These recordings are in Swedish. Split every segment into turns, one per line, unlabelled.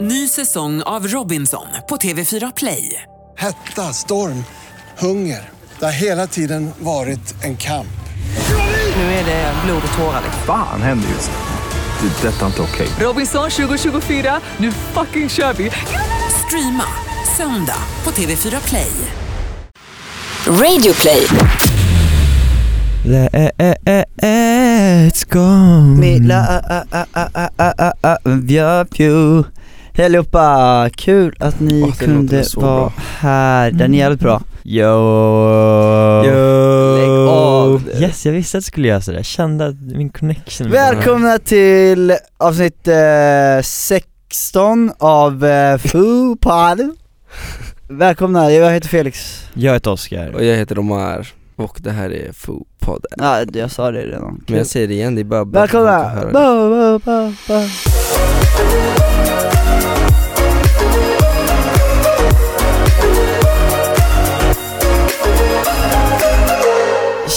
Ny säsong av Robinson på TV4 Play.
Hetta, storm, hunger. Det har hela tiden varit en kamp.
Nu är det blod och tårar.
Fan händer just nu. Det. är Detta är inte okej.
Robinson 2024, nu fucking kör vi! Streama söndag på TV4 Play.
Radioplay.
Let's go
Mitt Ah, love Hej allihopa! Kul att ni
Åh, det låter
kunde
så
vara
bra.
här,
Mm.
den är jävligt bra Yo!
Yo.
Lägg
Oh.
av!
Yes, jag visste att du skulle göra sådär, jag kände att min connection med
Välkomna till avsnitt eh, 16 av eh, Foo Pod Välkomna, jag heter Felix
den här. Jag heter Oscar
Och jag heter Omar och det här är Fopod
Ja, jag sa det redan
Men jag säger det igen, det är bara bara för att
Välkomna!
höra det.
Ba, ba, ba, ba.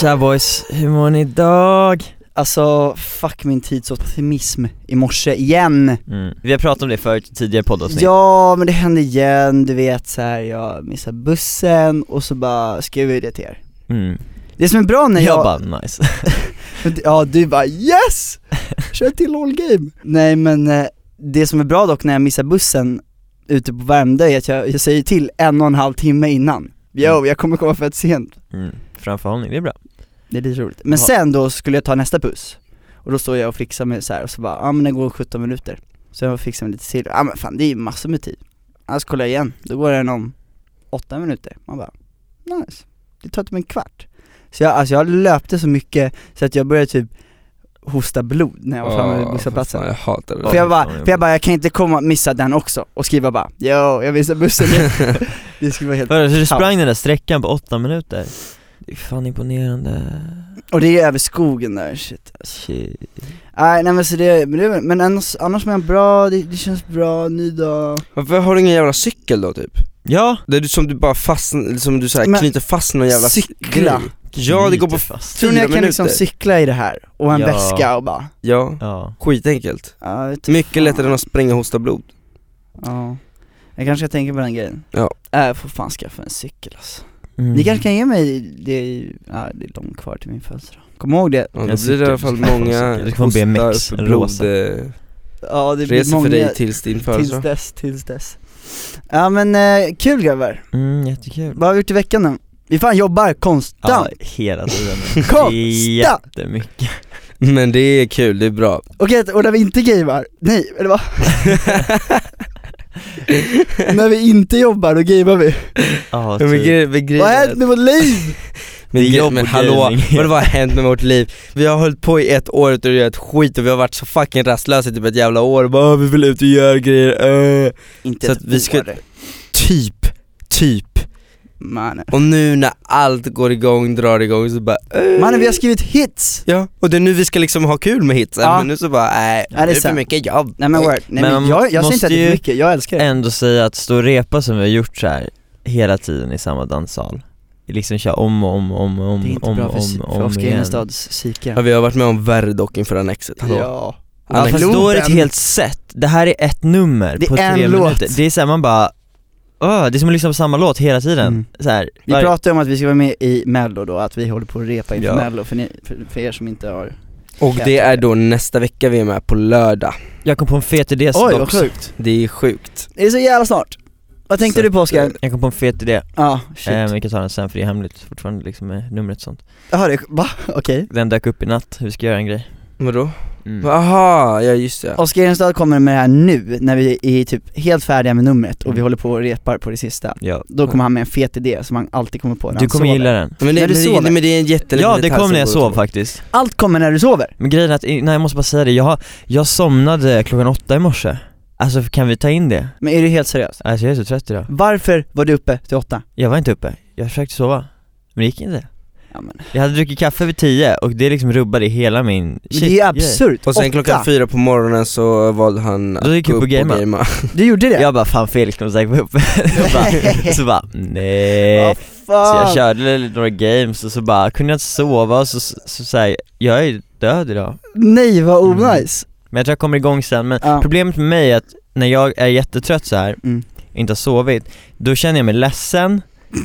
Tja boys, hur mår ni idag?
Alltså, fuck min tids optimism i morse igen!
Vi har pratat om det förut i tidigare poddavsnitt
Ja men det hände igen, du vet så här, jag missar bussen och så bara skriver jag det till er
mm.
Det som är bra när
jag,
jag,
bara nice
ja du bara 'Yes! Kör till all game' Nej men eh, det som är bra dock när jag missar bussen ute på Värmdö är att jag, jag säger till en och en halv timme innan Yo, jag kommer komma för sent
mm. Framförhållning, det är bra
Det är lite roligt. Men
Ja.
sen då skulle jag ta nästa buss, och då står jag och flixar med så här och så bara, ja ah, men det går 17 minuter Så jag fixar mig lite till, ja ah, men fan det är ju massor med tid Annars kollar jag igen, då går den om 8 minuter, man bara nice, det tar typ en kvart Så jag, alltså jag löpte så mycket så att jag började typ hosta blod när jag var framme vid
Ja,
busshållplatsen
fan, Jag hatar det
för
där.
jag, bara, för jag bara, jag kan inte komma och missa den också och skriva bara 'Yo, jag missar bussen' Det skulle vara helt
Vadå, så du
kaos.
sprang den där sträckan på åtta minuter? Det är fan imponerande
Och det är över skogen där, shit
Shit.
Nej nej men så det, men, det, men annars, annars mår jag bra, det, det känns bra, ny dag
Varför har du ingen jävla cykel då typ?
Ja!
Det är du som du bara fastnar, som du så
Men-
här knyter fast någon jävla
Cykla!
grej. Ja det går på
Knyter
f-
fast
Tror ni jag
Fyra
kan liksom
minuter.
cykla i det här? Och en
Ja.
väska och bara,
Ja,
Ja,
skitenkelt
ja, vet du
Mycket
fan.
lättare än att springa och hosta blod
Ja Jag kanske ska tänka på den grejen
Ja.
Äh, jag får fan skaffa en cykel alltså
mm.
Ni kanske kan ge mig, det är, ja, det är långt kvar till min födelsedag Kom ihåg det
ja, Då
En
blir det i alla fall
cykel.
många
Det kommer bli
hostar
BMX,
för
en
blod,
rosa.
eh,
Ja det blir
Resor
många
för dig tills din
tills
födelsedag
dess, tills dess Ja men eh, kul grabbar,
Mm, jättekul
vad har vi gjort i veckan nu? Vi fan jobbar
Ja,
konstant,
hela tiden
konstant!
Jättemycket
Men det är kul, det är bra
Alltså-
Okej, och när vi inte gamear, nej, eller vad? när vi inte jobbar, då gamear vi.
Ja,
Men
typ.
gre- men grejen
Vad
är-
hände med vårt liv?
Men,
Det är
gre-
jobb
men
och
hallå,
gaming.
vad har hänt med vårt liv? Vi har hållit på i ett år utan att göra ett skit och vi har varit så fucking rastlösa i typ ett jävla år bara "Ah, vi vill ut och göra grejer, äh.
Inte
Så att vi ska- Typ, typ.
Mannen,
Och nu när allt går igång, drar igång så bara äh.
Mannen vi har skrivit hits!
Ja, och det är nu vi ska liksom ha kul med hitsen
Ja.
men nu så bara nej,
Ja, det är
det är för
sant.
mycket jobb
Nej men word, nej
Men
men,
man
jag, jag ser
måste
inte att det är
ju-
för mycket, jag älskar det
Ändå säga att stå och repa som vi har gjort så här hela tiden i samma danssal Liksom köra om och om och om och om
Det är inte
om,
bra för,
om,
sy- för
om
Oskar
igen.
Enestads
Ja
psyke
vi har varit med om värre dock inför Annexet, hallå
Ja,
Ja fast då är det ett helt set, det här är ett nummer
Det är
på tre
en
minuter
låt.
Det är såhär man bara, åh, det är som att lyssna på samma låt hela tiden
Mm.
så här,
Vi
varje-
pratade om att vi ska vara med i mello då, att vi håller på att repa inför
Ja.
mello för, ni, för, för er som inte har
Och det är då nästa vecka vi är med på lördag,
Jag kom på en fet idé
Oj vad
Alltså, också
sjukt!
det är sjukt
Det är så jävla snart! Vad tänkte
Så
du på
att, eh,
Oskar?
Jag kom på en fet idé,
Ja, shit,
eh, vi kan ta den sen för det är hemligt fortfarande liksom med numret och sånt
jaha det, va? Okej
Den dök upp i natt, vi ska göra en grej
Vadå?
mm.
Aha, ja just det
Oskar Enestad kommer med det här nu, när vi är typ helt färdiga med numret och vi
Mm.
håller på och repar på det sista
Ja,
Då kommer han med en fet idé som han alltid kommer på när
du
han
kommer
sover.
gilla den
Men det,
När
men
du
det,
sover.
men det är en jätteliten
Ja det
detalj
kom
som
när jag
går att
sov
tro.
fakdigt
Allt kommer när du sover!
Men grejen är att, nej jag måste bara säga det, jag, jag somnade klockan åtta i morse Alltså kan vi ta in det?
Men är du helt seriös?
Alltså jag är så trött idag
Varför var du uppe till åtta?
Jag var inte uppe, jag försökte sova Men det gick inte
Ja, men, men
Jag hade druckit kaffe vid tio och det liksom rubbade hela min shit,
det är ju
yeah.
absurt!
Och sen
Åtta.
klockan fyra på morgonen så valde han
Då gick jag upp och gamea.
Du gjorde det?
Jag bara fan Felix kommer säkert vara uppe Jag bara, Så bara nej Eh,
Vad
Så
fan!
jag körde några games och så bara kunde jag inte sova och så, så, så, här, jag är död idag
Nej vad
Mm.
onajs!
Men jag tror jag kommer igång sen, men
Ja.
problemet med mig är att när jag är jättetrött så här
Mm.
inte har sovit, då känner jag mig ledsen,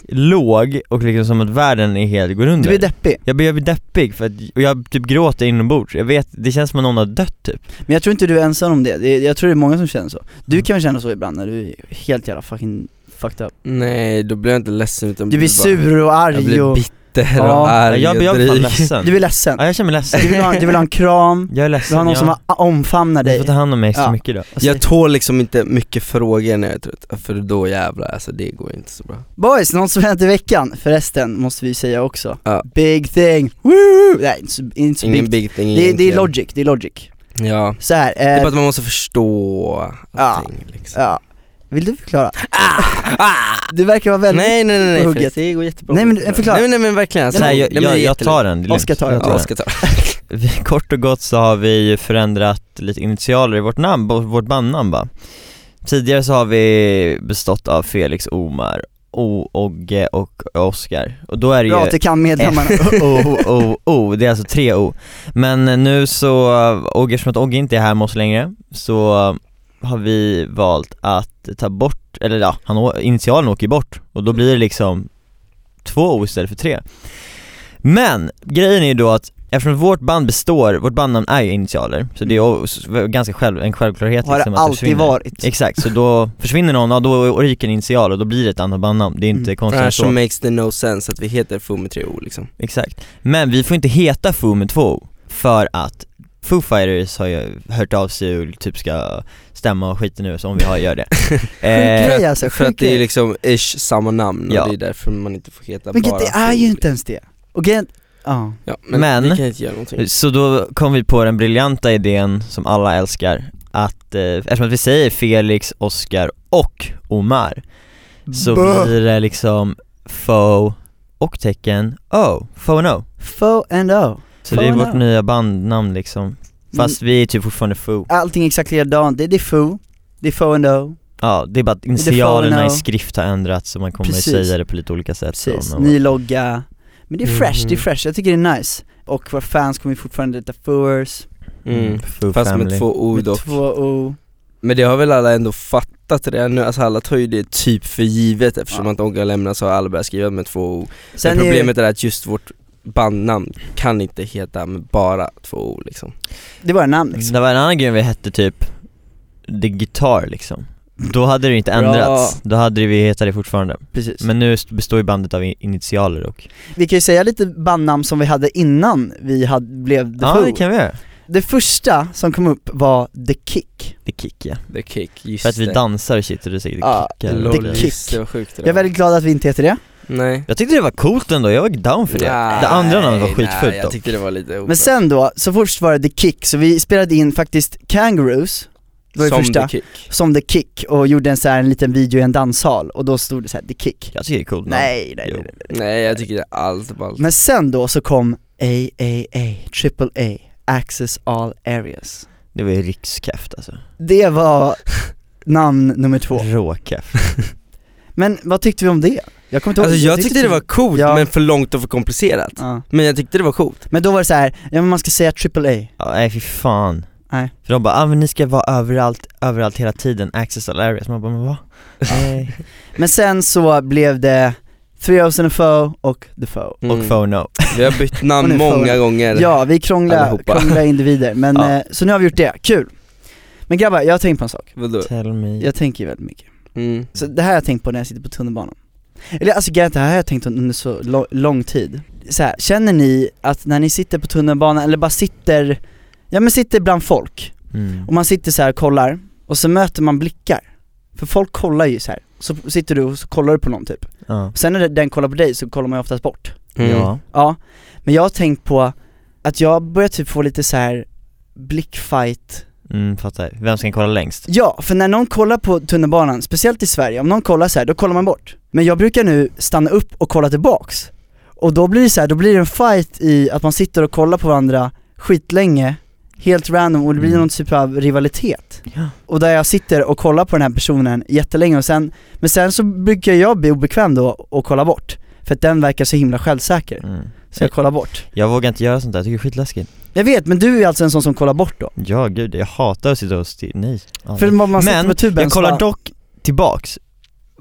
låg och liksom som att världen är helt, går
Du
under.
blir deppig.
jag blir, jag blir deppig för att, och jag typ gråter inombords, jag vet, det känns som att någon har dött typ
Men jag tror inte du är ensam om det, Det- jag tror det är många som känner så Du kan väl känna så ibland när du är helt jävla fucking fucked up
Nej, då blir jag inte ledsen utan
Du blir
Mm, bara-
sur och
Jag
arg
blir
och,
bitter
Ja,
och arg
Jag blir jag
och
blir fan
dryg
ledsen,
du blir ledsen
ja jag känner mig ledsen,
du, vill ha, du vill ha en kram,
jag är
du vill
ledsen,
ha någon
jag,
som a- omfamnar
du får ta
dig
hand om mig så
Ja.
mycket då
Jag tål liksom inte mycket frågor när jag är trött, för då jävlar alltså det går inte så bra
Boys, något som hänt i veckan förresten måste vi säga också
Ja.
Big thing, woo! Nej inte så, inte så
Ingen
big
big thing
det, det är
egentligen.
logic, det är logic
Ja,
Så här,
det är
eh,
bara att man måste förstå
Ja.
allting liksom
ja. Vill du förklara? Du verkar vara väldigt
Ah! Nej nej nej, nej
Äh, på
för
hugget.
det går jättebra
Nej, men eh, förklara.
Nej nej men verkligen alltså.
så här, jag,
Nej, men
jag,
det är
jag tar den, det är lugnt.
Oskar tar den.
Jag
jättelätt. Ja, Oskar tar den.
Vi, kort och gott så har vi ju förändrat lite initialer i vårt namn, bo- vårt bandnamn va? Tidigare så har vi bestått av Felix, Omar, O, Ogge och Oskar och då är det
bra att
ju
du kan medlemmarna
Oh,
O, O, O, det är alltså tre O Men nu så, och eftersom att Ogge inte är här med oss längre så har vi valt att ta bort, eller ja, han, å- initialen åker ju bort och då blir det liksom två O istället för tre Men grejen är ju då att eftersom vårt band består, vårt bandnamn är ju initialer så det är ju s- ganska själv, en självklarhet
Mm. Har
liksom
det
att
alltid
försvinner.
varit
Exakt, så då försvinner någon, ja då ryker en initial och då blir det ett annat bandnamn, det är inte
Mm.
konstigt än
Annars
så
så makes the no sense att vi heter FUM med tre O liksom
Exakt, men vi får inte heta Foo med två O, för att Foo Fighters har ju hört av sig och typ ska stämma och skiten nu så om vi har, gör det
Sjuk
eh,
grej alltså,
För
sjuk
att det
grej.
är liksom ish samma namn
Ja.
och det är därför man inte får heta
Vilket
bara
det är
Foo,
ju
liksom.
inte ens det. Och grejen, ja.
ja, men,
Men-
vi kan inte göra någonting
Så då kom vi på den briljanta idén som alla älskar att, eh, eftersom att vi säger Felix, Oscar och Omar så
Bö.
blir det liksom Fo och tecken O, Fo and O
Fo and oh. O.
Så det är
Fo and
vårt
O. Mm.
nya bandnamn liksom, fast vi är typ fortfarande Foo
Allting är exakt likadant, det, det är Fo, det är Fo and oh. O.
Ja, det är bara att initialerna i
now.
skrift har ändrats så man kommer
Precis.
säga det på lite olika sätt så,
Precis,
men-
ny logga. Men det är fresh, det är
Mhm.
fresh, jag tycker det är nice. Och våra fans kommer ju fortfarande heta Foers,
mm.
Foo
Fast
family.
med två O
med
dock
två O.
Men det har väl alla ändå fattat redan nu, alltså alla tar ju det typ för givet eftersom
Ja.
att Ogge har lämnat så har alla börjat skriva med två O
Sen
Men
är-
problemet är att just vårt bandnamn kan inte heta med bara två O liksom
Det var namn liksom.
Det var en annan grej vi hette typ The Guitar liksom Då hade det inte
Bra.
ändrats, då hade vi hetat det fortfarande
Precis.
Men nu st- består ju bandet av i- initialer och
Mm.
Vi kan ju säga lite bandnamn som vi hade innan vi hade, blev The
Ja
Fo.
det kan vi göra
Det första som kom upp var The Kick.
The Kick ja,
The Kick, just
för att vi
det
dansar och shit och du säger The
Ja,
Kick eller
lol.
något.
Lol,
Kick.
just det var sjukt det
Jag
där.
är väldigt glad att vi inte heter det.
Nej
Jag tyckte det var coolt ändå, jag var down för det
Nej,
Det andra namnet var
nej,
skitfult
jag
dock
tyckte det var lite
Men sen då, så först var det The Kick, så vi spelade in faktiskt Kangaroos, det var ju
Som The
första,
Kick
som The Kick och gjorde en så här en liten video i en danshall och då stod det så här The Kick.
Jag tycker det är coolt namn.
Nej, nej, nej,
Jo.
nej.
Nej jag tycker det är allt ballt
Men sen då så kom AAA, Triple A, Access All Areas.
Det var ju rikskäft alltså,
Det var namn nummer två.
råkäft
Men vad tyckte vi om det? Jag kommer inte ihåg-
Alltså jag tyckte det var coolt
Ja.
men för långt och för komplicerat
Ja.
Men jag tyckte det var coolt
Men då var det så här, ja men man ska säga Triple A.
Ja, nej fy fan
Nej.
För de bara, ah, men ni ska vara överallt, överallt hela tiden, access all areas, man bara, men va? Nej.
Eh. Men sen så blev det 3000 Foe och The Foe.
Och
Mm.
for no
Vi har bytt
Och
namn
nu får
många gånger
Ja, vi krånglar,
Allihopa.
krånglar individer, men
Ja.
eh, så nu har vi gjort det, kul! Men grabbar, jag har tänkt på en sak,
Vadå?
Tell me
jag tänker ju väldigt mycket
Mm.
Så det här har jag tänkt på när jag sitter på tunnelbanan Eller alltså grejen är att det här har jag tänkt under så lo- lång tid så här, känner ni att när ni sitter på tunnelbanan eller bara sitter, ja men sitter bland folk
mm.
och man sitter så här och kollar och så möter man blickar För folk kollar ju så här. så sitter du och så kollar du på någon typ
ja.
Sen när den kollar på dig så kollar man ju oftast bort
Mm.
ja,
Ja, men jag har tänkt på att jag börjar typ få lite så här blickfight
mm, fattar, vem ska kolla längst?
Ja, för när någon kollar på tunnelbanan, speciellt i Sverige, om någon kollar så här, då kollar man bort Men jag brukar nu stanna upp och kolla tillbaks Och då blir det så här, då blir det en fight i att man sitter och kollar på varandra skitlänge Helt random och det blir
Mm.
någon typ av rivalitet
Ja.
Och där jag sitter och kollar på den här personen jättelänge och sen Men sen så brukar jag bli obekväm då och kolla bort För att den verkar så himla självsäker,
Mm.
så jag kollar bort
Jag vågar inte göra sånt där, jag tycker det är skitläskigt
Jag vet, men du är alltså en sån som kollar bort då?
Ja gud, jag hatar att sitta och stirra, nej
För
aldrig.
man, man sitter
Men
på tuben
jag
så
kollar
bara-
dock tillbaks,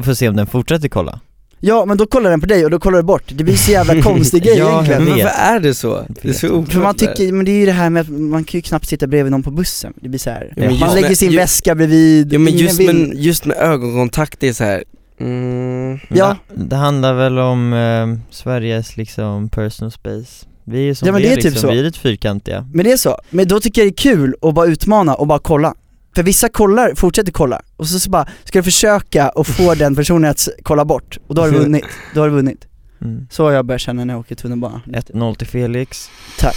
för att se om den fortsätter kolla
Ja, men då kollar den på dig och då kollar du bort, det blir så jävla konstig grej
Ja,
egentligen
jag
Men
vet.
varför är det så? Det är så
Vet.
oklart
För man
det här.
tycker, men det är ju det här med att man kan ju knappt sitta bredvid någon på bussen, det blir så här.
Ja, men
man
just-
lägger sin
ju-
väska bredvid,
Jo men
ingen
just,
vill-
men just med ögonkontakt, det är så här. Mm.
Ja.
Det, det handlar väl om eh, Sveriges liksom personal space Vi är ju som
Ja, men
vi
det
är
är typ
liksom,
så.
vi är lite fyrkantiga
Men det är så, men då tycker jag det är kul att bara utmana och bara kolla. För vissa kollar, fortsätter kolla, och så, så bara, ska du försöka att få den personen att s- kolla bort, och då
Mm.
har du vunnit, då har du vunnit.
mm.
Så har jag börjat känna när jag åker tunnelbana.
1-0 till Felix
Tack.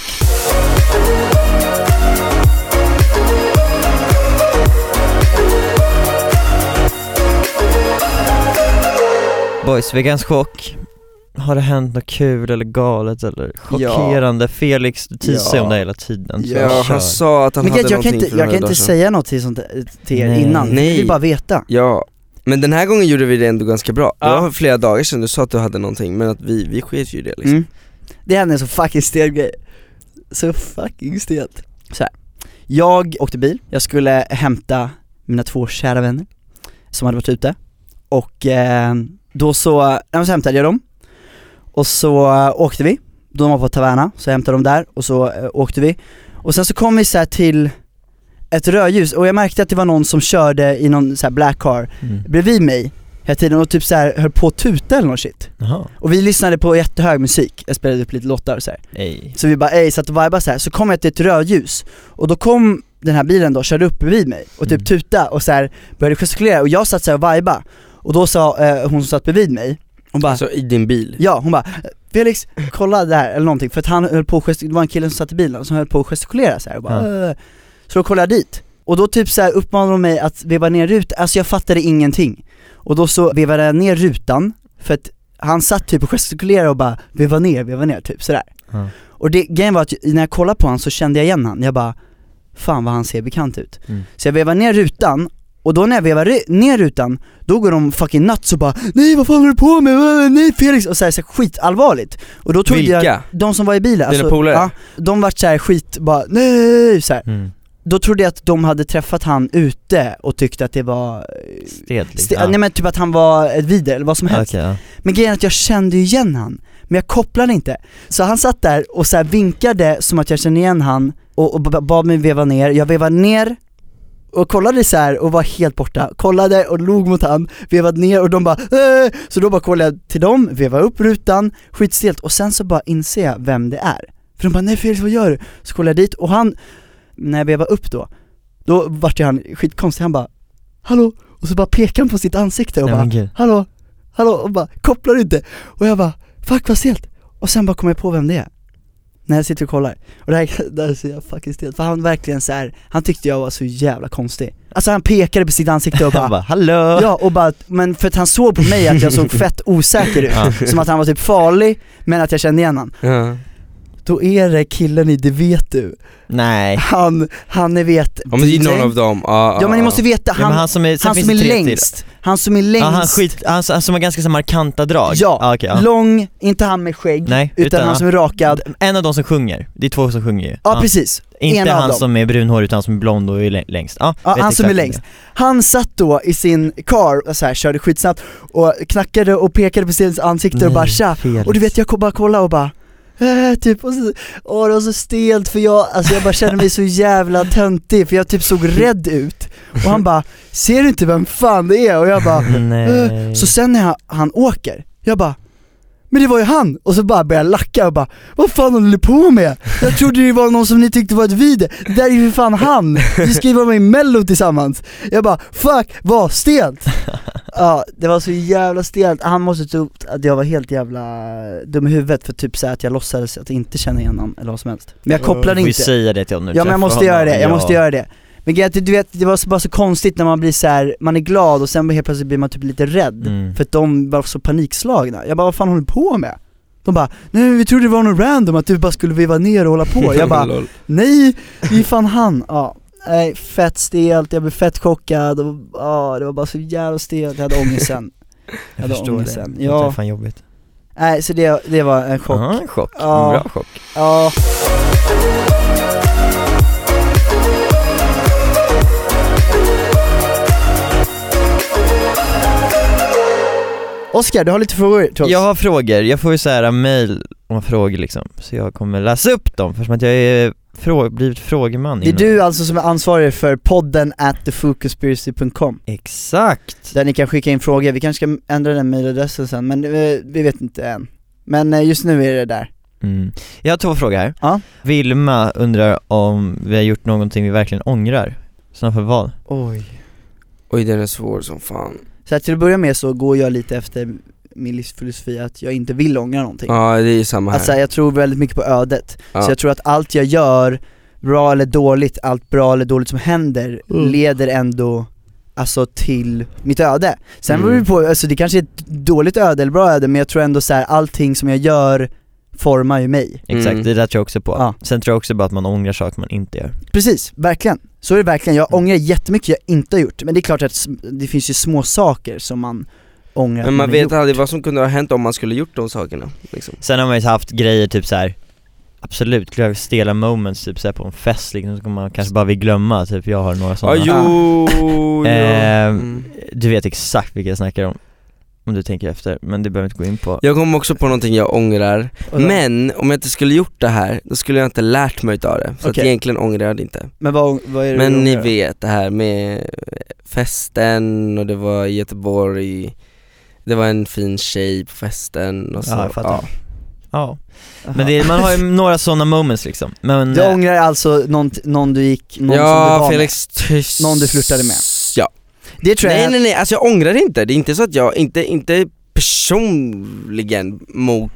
Boys, veckans chock Har det hänt något kul eller galet eller chockerande? Felix, du teasar ju
Ja.
om det hela tiden så
Ja,
kör.
han sa att han
Men
hade
grejen är att jag kan
någonting
inte,
för
jag kan
några dagar
inte
sedan.
säga något till, sånt, till er
Nej.
innan, jag vill
Nej.
bara veta.
Ja, men den här gången gjorde vi det ändå ganska bra. Det
Ja.
var flera dagar sedan du sa att du hade någonting, men att vi, vi sket ju i det liksom.
Mm. Det hände en så fucking stel grej. Så fucking stelt. Så här. jag åkte bil, jag skulle hämta mina två kära vänner som hade varit ute och eh, då så, nej, men så hämtade jag dem och så eh, åkte vi, de var på Taverna, så jag hämtade dem där och så eh, åkte vi och sen så kom vi så här till ett rödljus och jag märkte att det var någon som körde i någon så här black car
Mm.
bredvid mig hela tiden och typ så här höll på att tuta eller något shit
Jaha,
och vi lyssnade på jättehög musik, jag spelade upp lite låtar och så här.
ej
Så vi bara ey, satt och vibade så här. så kom jag till ett rödljus och då kom den här bilen då, körde upp bredvid mig och typ
Mm.
tuta och så här började gestikulera och jag satt så här och viba och då sa eh, hon som satt bredvid mig, hon bara
Alltså i din bil.
Ja, hon bara Felix, kolla där eller någonting, för att han höll på att gestik- det var en kille som satt i bilen som höll på att gestikulera så här och bara, "Åh." Så då kollade jag dit, och då typ så här uppmanade hon mig att veva ner rutan, alltså jag fattade ingenting Och då så vevade jag ner rutan, för att han satt typ och gestikulerade och bara veva ner, veva ner typ sådär
Ja.
Och det, grejen var att när jag kollade på honom så kände jag igen han, jag bara Fan vad han ser bekant ut
Mm.
Så jag vevar ner rutan, och då när jag vevar re- ner rutan, då går de fucking nuts och bara Nej vad fan håller du på med? Äh, Nej Felix! Och så här, så här skitallvarligt Och då trodde jag,
Vilka?
de som var i bilen alltså,
Dina polare?
ja, de vart så här skit, bara nej så här.
Mm.
Då trodde jag att de hade träffat han ute och tyckte att det var,
Sted
st-
liksom Ja.
nej men typ att han var ett vider eller vad som helst
Okej, ja.
Men grejen är att jag kände ju igen han, men jag kopplade inte Så han satt där och så här vinkade som att jag kände igen han och, och ba- bad mig veva ner, jag vevade ner och kollade så här och var helt borta, kollade och log mot han, vevade ner och de bara äh! Så då bara kollade jag till dem, vevade upp rutan, skitstelt och sen så bara inser jag vem det är För de bara nej Felix vad gör du? Så kollade jag dit och han, när jag vevade upp då, då vart ju han skitkonstig, han bara hallå? Och så bara pekade han på sitt ansikte och
Nej
bara
men gud
hallå, hallå, och bara kopplar du inte? Och jag bara, fuck vad stelt! Och sen bara kommer jag på vem det är När jag sitter och kollar, och det här, det här är så jävla fucking stelt, för han verkligen så här, han tyckte jag var så jävla konstig Alltså han pekade på sitt ansikte och
Han
bara
bara hallå!
Ja och bara, men för att han såg på mig att jag såg fett osäker
Ja.
ut, som att han var typ farlig, men att jag kände igen han
Ja.
Då är det killen i Det vet du,
Nej,
han, han är vet
Ja men det är någon av dem, ja
Typ Ja men ni måste veta,
han,
han,
men han som är, sen
han
finns
som är
det tre till.
längst, han som är
Ja, han,
längst
skit, han, han som har ganska så här markanta drag
Ja,
ah, okej, ja.
lång, inte han med skägg,
Nej,
utan,
utan-
han som är rakad.
En av de som sjunger, det är två som sjunger ju
Ja
Ja.
precis, en
Inte
av
han
dem.
som är brunhårig utan han som är blond och är lä- längst Ja,
Ja,
vet
han som
exakt
är
vem det
längst. Han satt då i sin car och så här, körde skitsnabbt och knackade och pekade på sitt ansikte och
Nej,
bara tja.
Felix.
Och du vet jag kom- bara kollade och bara äh, typ, och så, åh det var så stelt för jag, alltså jag bara kände mig så jävla töntig för jag typ såg rädd ut Och han bara, ser du inte vem fan det är? Och jag bara,
Nej.
Mm. Så sen när han, han åker, jag bara men det var ju han! Och så bara började jag lacka och bara Vad fan håller ni på med? Jag trodde det var någon som ni tyckte var ett vider, det där är ju för fan han! Vi ska ju vara med i mello tillsammans! Jag bara fuck vad stelt! Ja, det var så jävla stelt, han måste trott att jag var helt jävla dum i huvudet för typ såhär att jag låtsades att jag inte känna igen honom eller vad som helst Men jag
Du
kopplade
får ju
inte
säga det till honom när du
Ja men
träffar
jag måste
honom.
göra det, jag
Ja.
måste göra det Men grejen är att du vet, det var så- bara så konstigt när man blir så här, man är glad och sen helt plötsligt blir man typ lite rädd
Mm.
För att de var så panikslagna, jag bara vad fan håller du på med? De bara, nej vi trodde det var någon random, att du bara skulle veva ner och hålla på Jag bara,
Lol.
nej, det är fan han, ja Nej, fett stelt, jag blev fett chockad och ja, det var bara så jävla stelt, jag hade ångest sen
Jag
hade
förstår det,
ångesten. Ja.
ja. det är fan jobbigt
Nej, så det, det var en chock
Ja, en chock,
Ja.
bra chock
Ja. Oskar, du har lite frågor till oss?
Jag har frågor, jag får ju så här äh, mail om frågor liksom, så jag kommer läsa upp dem för som att jag är frå- blivit frågeman
Det är
innan.
du alltså som är ansvarig för podden at thefocuspiracy.com
Exakt!
Där ni kan skicka in frågor, vi kanske ska ändra den mailadressen sen men eh, vi vet inte än Men eh, just nu är det där
Mm. Jag har två frågor här.
Ja.
Vilma undrar om vi har gjort någonting vi verkligen ångrar. I så för vad?
Oj
Oj den är svår som fan
Så här, till att börja med så går jag lite efter min livsfilosofi att jag inte vill ångra någonting
Ja det är samma här
Alltså jag tror väldigt mycket på ödet,
Ja.
så jag tror att allt jag gör, bra eller dåligt, allt bra eller dåligt som händer,
Mm.
leder ändå Alltså till mitt öde. Sen beror det
Mm.
på, alltså det kanske är ett dåligt öde eller bra öde men jag tror ändå så här, allting som jag gör formar ju mig.
Exakt,
Mm.
det där tror jag också på.
Ja.
Sen tror jag också bara att man ångrar saker man inte gör.
Precis, verkligen. Så är det verkligen,
Mm.
jag ångrar jättemycket jag inte har gjort. Men det är klart att s- det finns ju små saker som man ångrar
Men
att
man
har
vet
gjort.
aldrig vad som kunde ha hänt om man skulle gjort de sakerna liksom.
Sen har man ju haft grejer typ så här. Absolut, klara stela moments typ så här på en fest liksom, som man kanske bara vill glömma, typ jag har några
Ja
sådana
jo, ja.
Ehm,
Mm.
Du vet exakt vilka jag snackar om, om du tänker efter, men det behöver vi inte gå in på
Jag kom också på någonting jag ångrar,
Vadå?
men om jag inte skulle gjort det här, då skulle jag inte lärt mig utav det. Så att
Okej.
egentligen ångrar jag det inte.
Men vad, vad är det du
Men ni
ångrar?
vet det här med festen och det var i Göteborg, det var en fin tjej på festen och så.
Ja, jag fattar.
Ja.
Ja, men det, man har ju några sådana moments liksom, men
Du ångrar alltså någon, någon du gick, någon som du
ja
var med?
Felix tyst.
Någon du flörtade med.
Ja.
Det tror jag
Nej nej nej, alltså jag ångrar inte. Det är inte så att jag, inte, inte personligen mot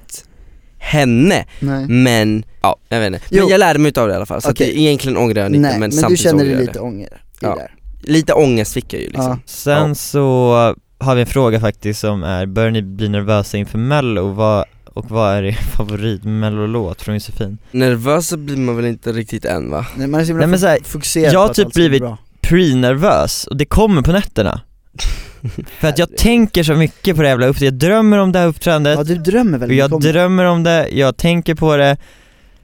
henne,
nej.
men ja, jag vet inte. Men
Mm. Jo.
jag lärde mig utav det i alla fall, så
Okej.
att det, egentligen ångrar jag inte
Nej,
men,
men, du
samtidigt
känner
ångrar
dig
jag
lite ånger i
Ja. liksom.
det där.
det. Lite ångest fick jag ju liksom.
Ja.
sen så har vi en fråga faktiskt som är, bör ni bli nervösa inför mello? Vad, och vad är er favorit mellolåt från Josefin?
Nervös så blir man väl inte riktigt än va?
Nej, man är så himla
Nej, men så här,
fokuserad
jag har
på att
typ
allt ska bli
blivit-
bra.
Pre-nervös, och det kommer på nätterna För att jag tänker så mycket på det här jävla uppträdandet, jag drömmer om det här uppträdandet
Ja du drömmer väl?
Och jag
om-
drömmer om det, jag tänker på det,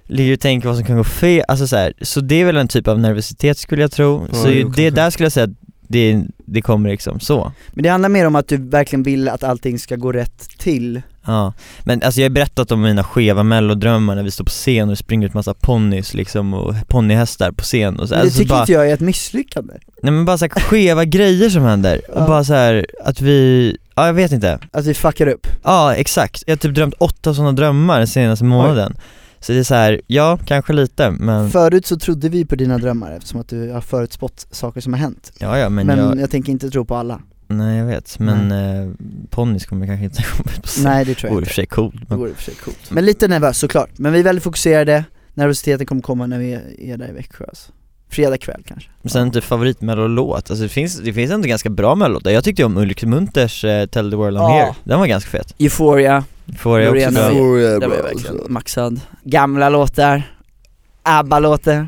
ligger och tänker vad som kan gå fel, alltså så, här, så det är väl en typ av nervositet skulle jag tro,
Ja,
så
jo,
ju det
kanske.
där skulle jag säga att det, det kommer liksom så
Men det handlar mer om att du verkligen vill att allting ska gå rätt till.
Ja, men alltså jag har berättat om mina skeva mellodrömmar när vi står på scen och det springer ut massa ponnys liksom och ponnyhästar på scen och så,
Men det
alltså
tycker
bara,
inte jag är ett misslyckande.
Nej men bara så här, skeva grejer som händer och
Ja.
bara så här att vi, ja jag vet inte
Att vi fuckar upp.
Ja, exakt. Jag har typ drömt åtta sådana drömmar den senaste månaden. Så det är så här, ja, kanske lite, men
Förut så trodde vi på dina drömmar eftersom att du har förutspått saker som har hänt.
ja, ja, men,
Men, jag...
jag,
tänker inte tro på alla.
nej jag vet, men eh, ponnys kommer kanske inte komma ut på scen.
Nej det tror jag
Vore i och
inte.
för sig coolt,
Det
men
vore i och för Mm. sig coolt. Men lite nervös såklart. Men vi är väldigt fokuserade, nervositeten kommer komma när vi är där i Växjö alltså. Fredag kväll kanske.
sen inte favoritmellolåt, alltså det finns, det finns ändå ganska bra mellolåtar. Jag tyckte om Ulrik Munters eh, Tell the world I'm
Ja.
here, den var ganska fet.
Euphoria,
Får jag också
Loreen
bra.
Fy- det var jag verkligen maxad. Gamla låtar, ABBA-låtar.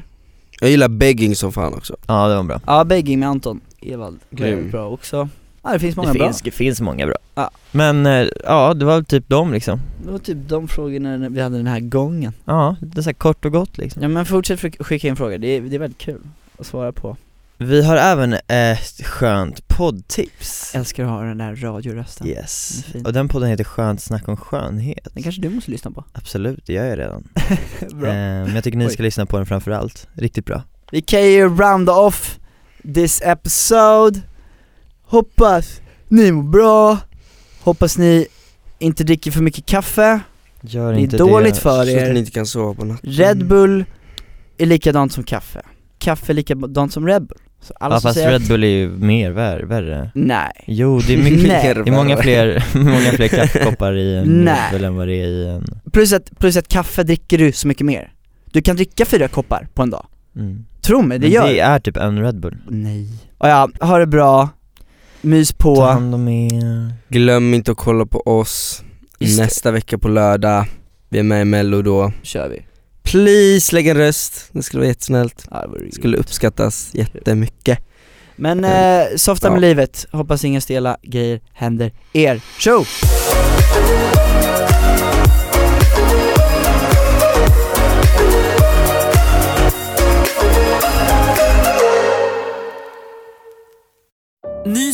Jag gillar begging som fan också.
Ja, det var bra.
Ja, Begging med Anton Ewald,
Grym.
bra också. Ja det finns många
Det
bra.
finns, det finns många bra.
Ja.
Men eh, ja, det var väl typ dem liksom.
Det var typ de frågorna vi hade den här gången.
Ja, det är så här kort och gott liksom.
Ja men fortsätt skick- skicka in frågor, det är, det är väldigt kul att svara på.
Vi har även ett skönt poddtips.
Älskar att höra den där radiorösten.
Yes,
Den är fin.
och den podden heter Skönt snack om skönhet
Den kanske du måste lyssna på.
Absolut, det gör jag redan eh, Men jag tycker ni
Oj.
ska lyssna på den framförallt, riktigt bra
Vi kan ju round off this episode. Hoppas ni mår bra. Hoppas ni inte dricker för mycket kaffe.
Gör
Det är
inte
dåligt
det.
för
Så att ni
er.
inte kan sova på natten.
Red Bull är likadant som kaffe. Kaffe är likadant som Red Bull. Så alla
Ja
som
fast
säger
Red Bull är ju mer värre, värre
Nej.
Jo det är mycket,
Nej.
det är många fler, många fler kaffekoppar i en
Nej.
Red Bull än vad det är i en
Plus att, plus att kaffe dricker du så mycket mer. Du kan dricka fyra koppar på en dag.
mm.
Tro mig, det
Men
gör
det är typ en Red Bull
Nej. Och ja, ha det bra. Mys på.
Ta hand om er
Glöm inte att kolla på oss
Just det.
nästa vecka på lördag. Vi är med i mello då.
Kör vi.
Please lägg en röst, det skulle vara jättesnällt.
Ja, det vore
Det skulle uppskattas jättemycket.
Men eh, softa med
Ja.
livet, hoppas inga stela grejer händer er. Tjo!
Ny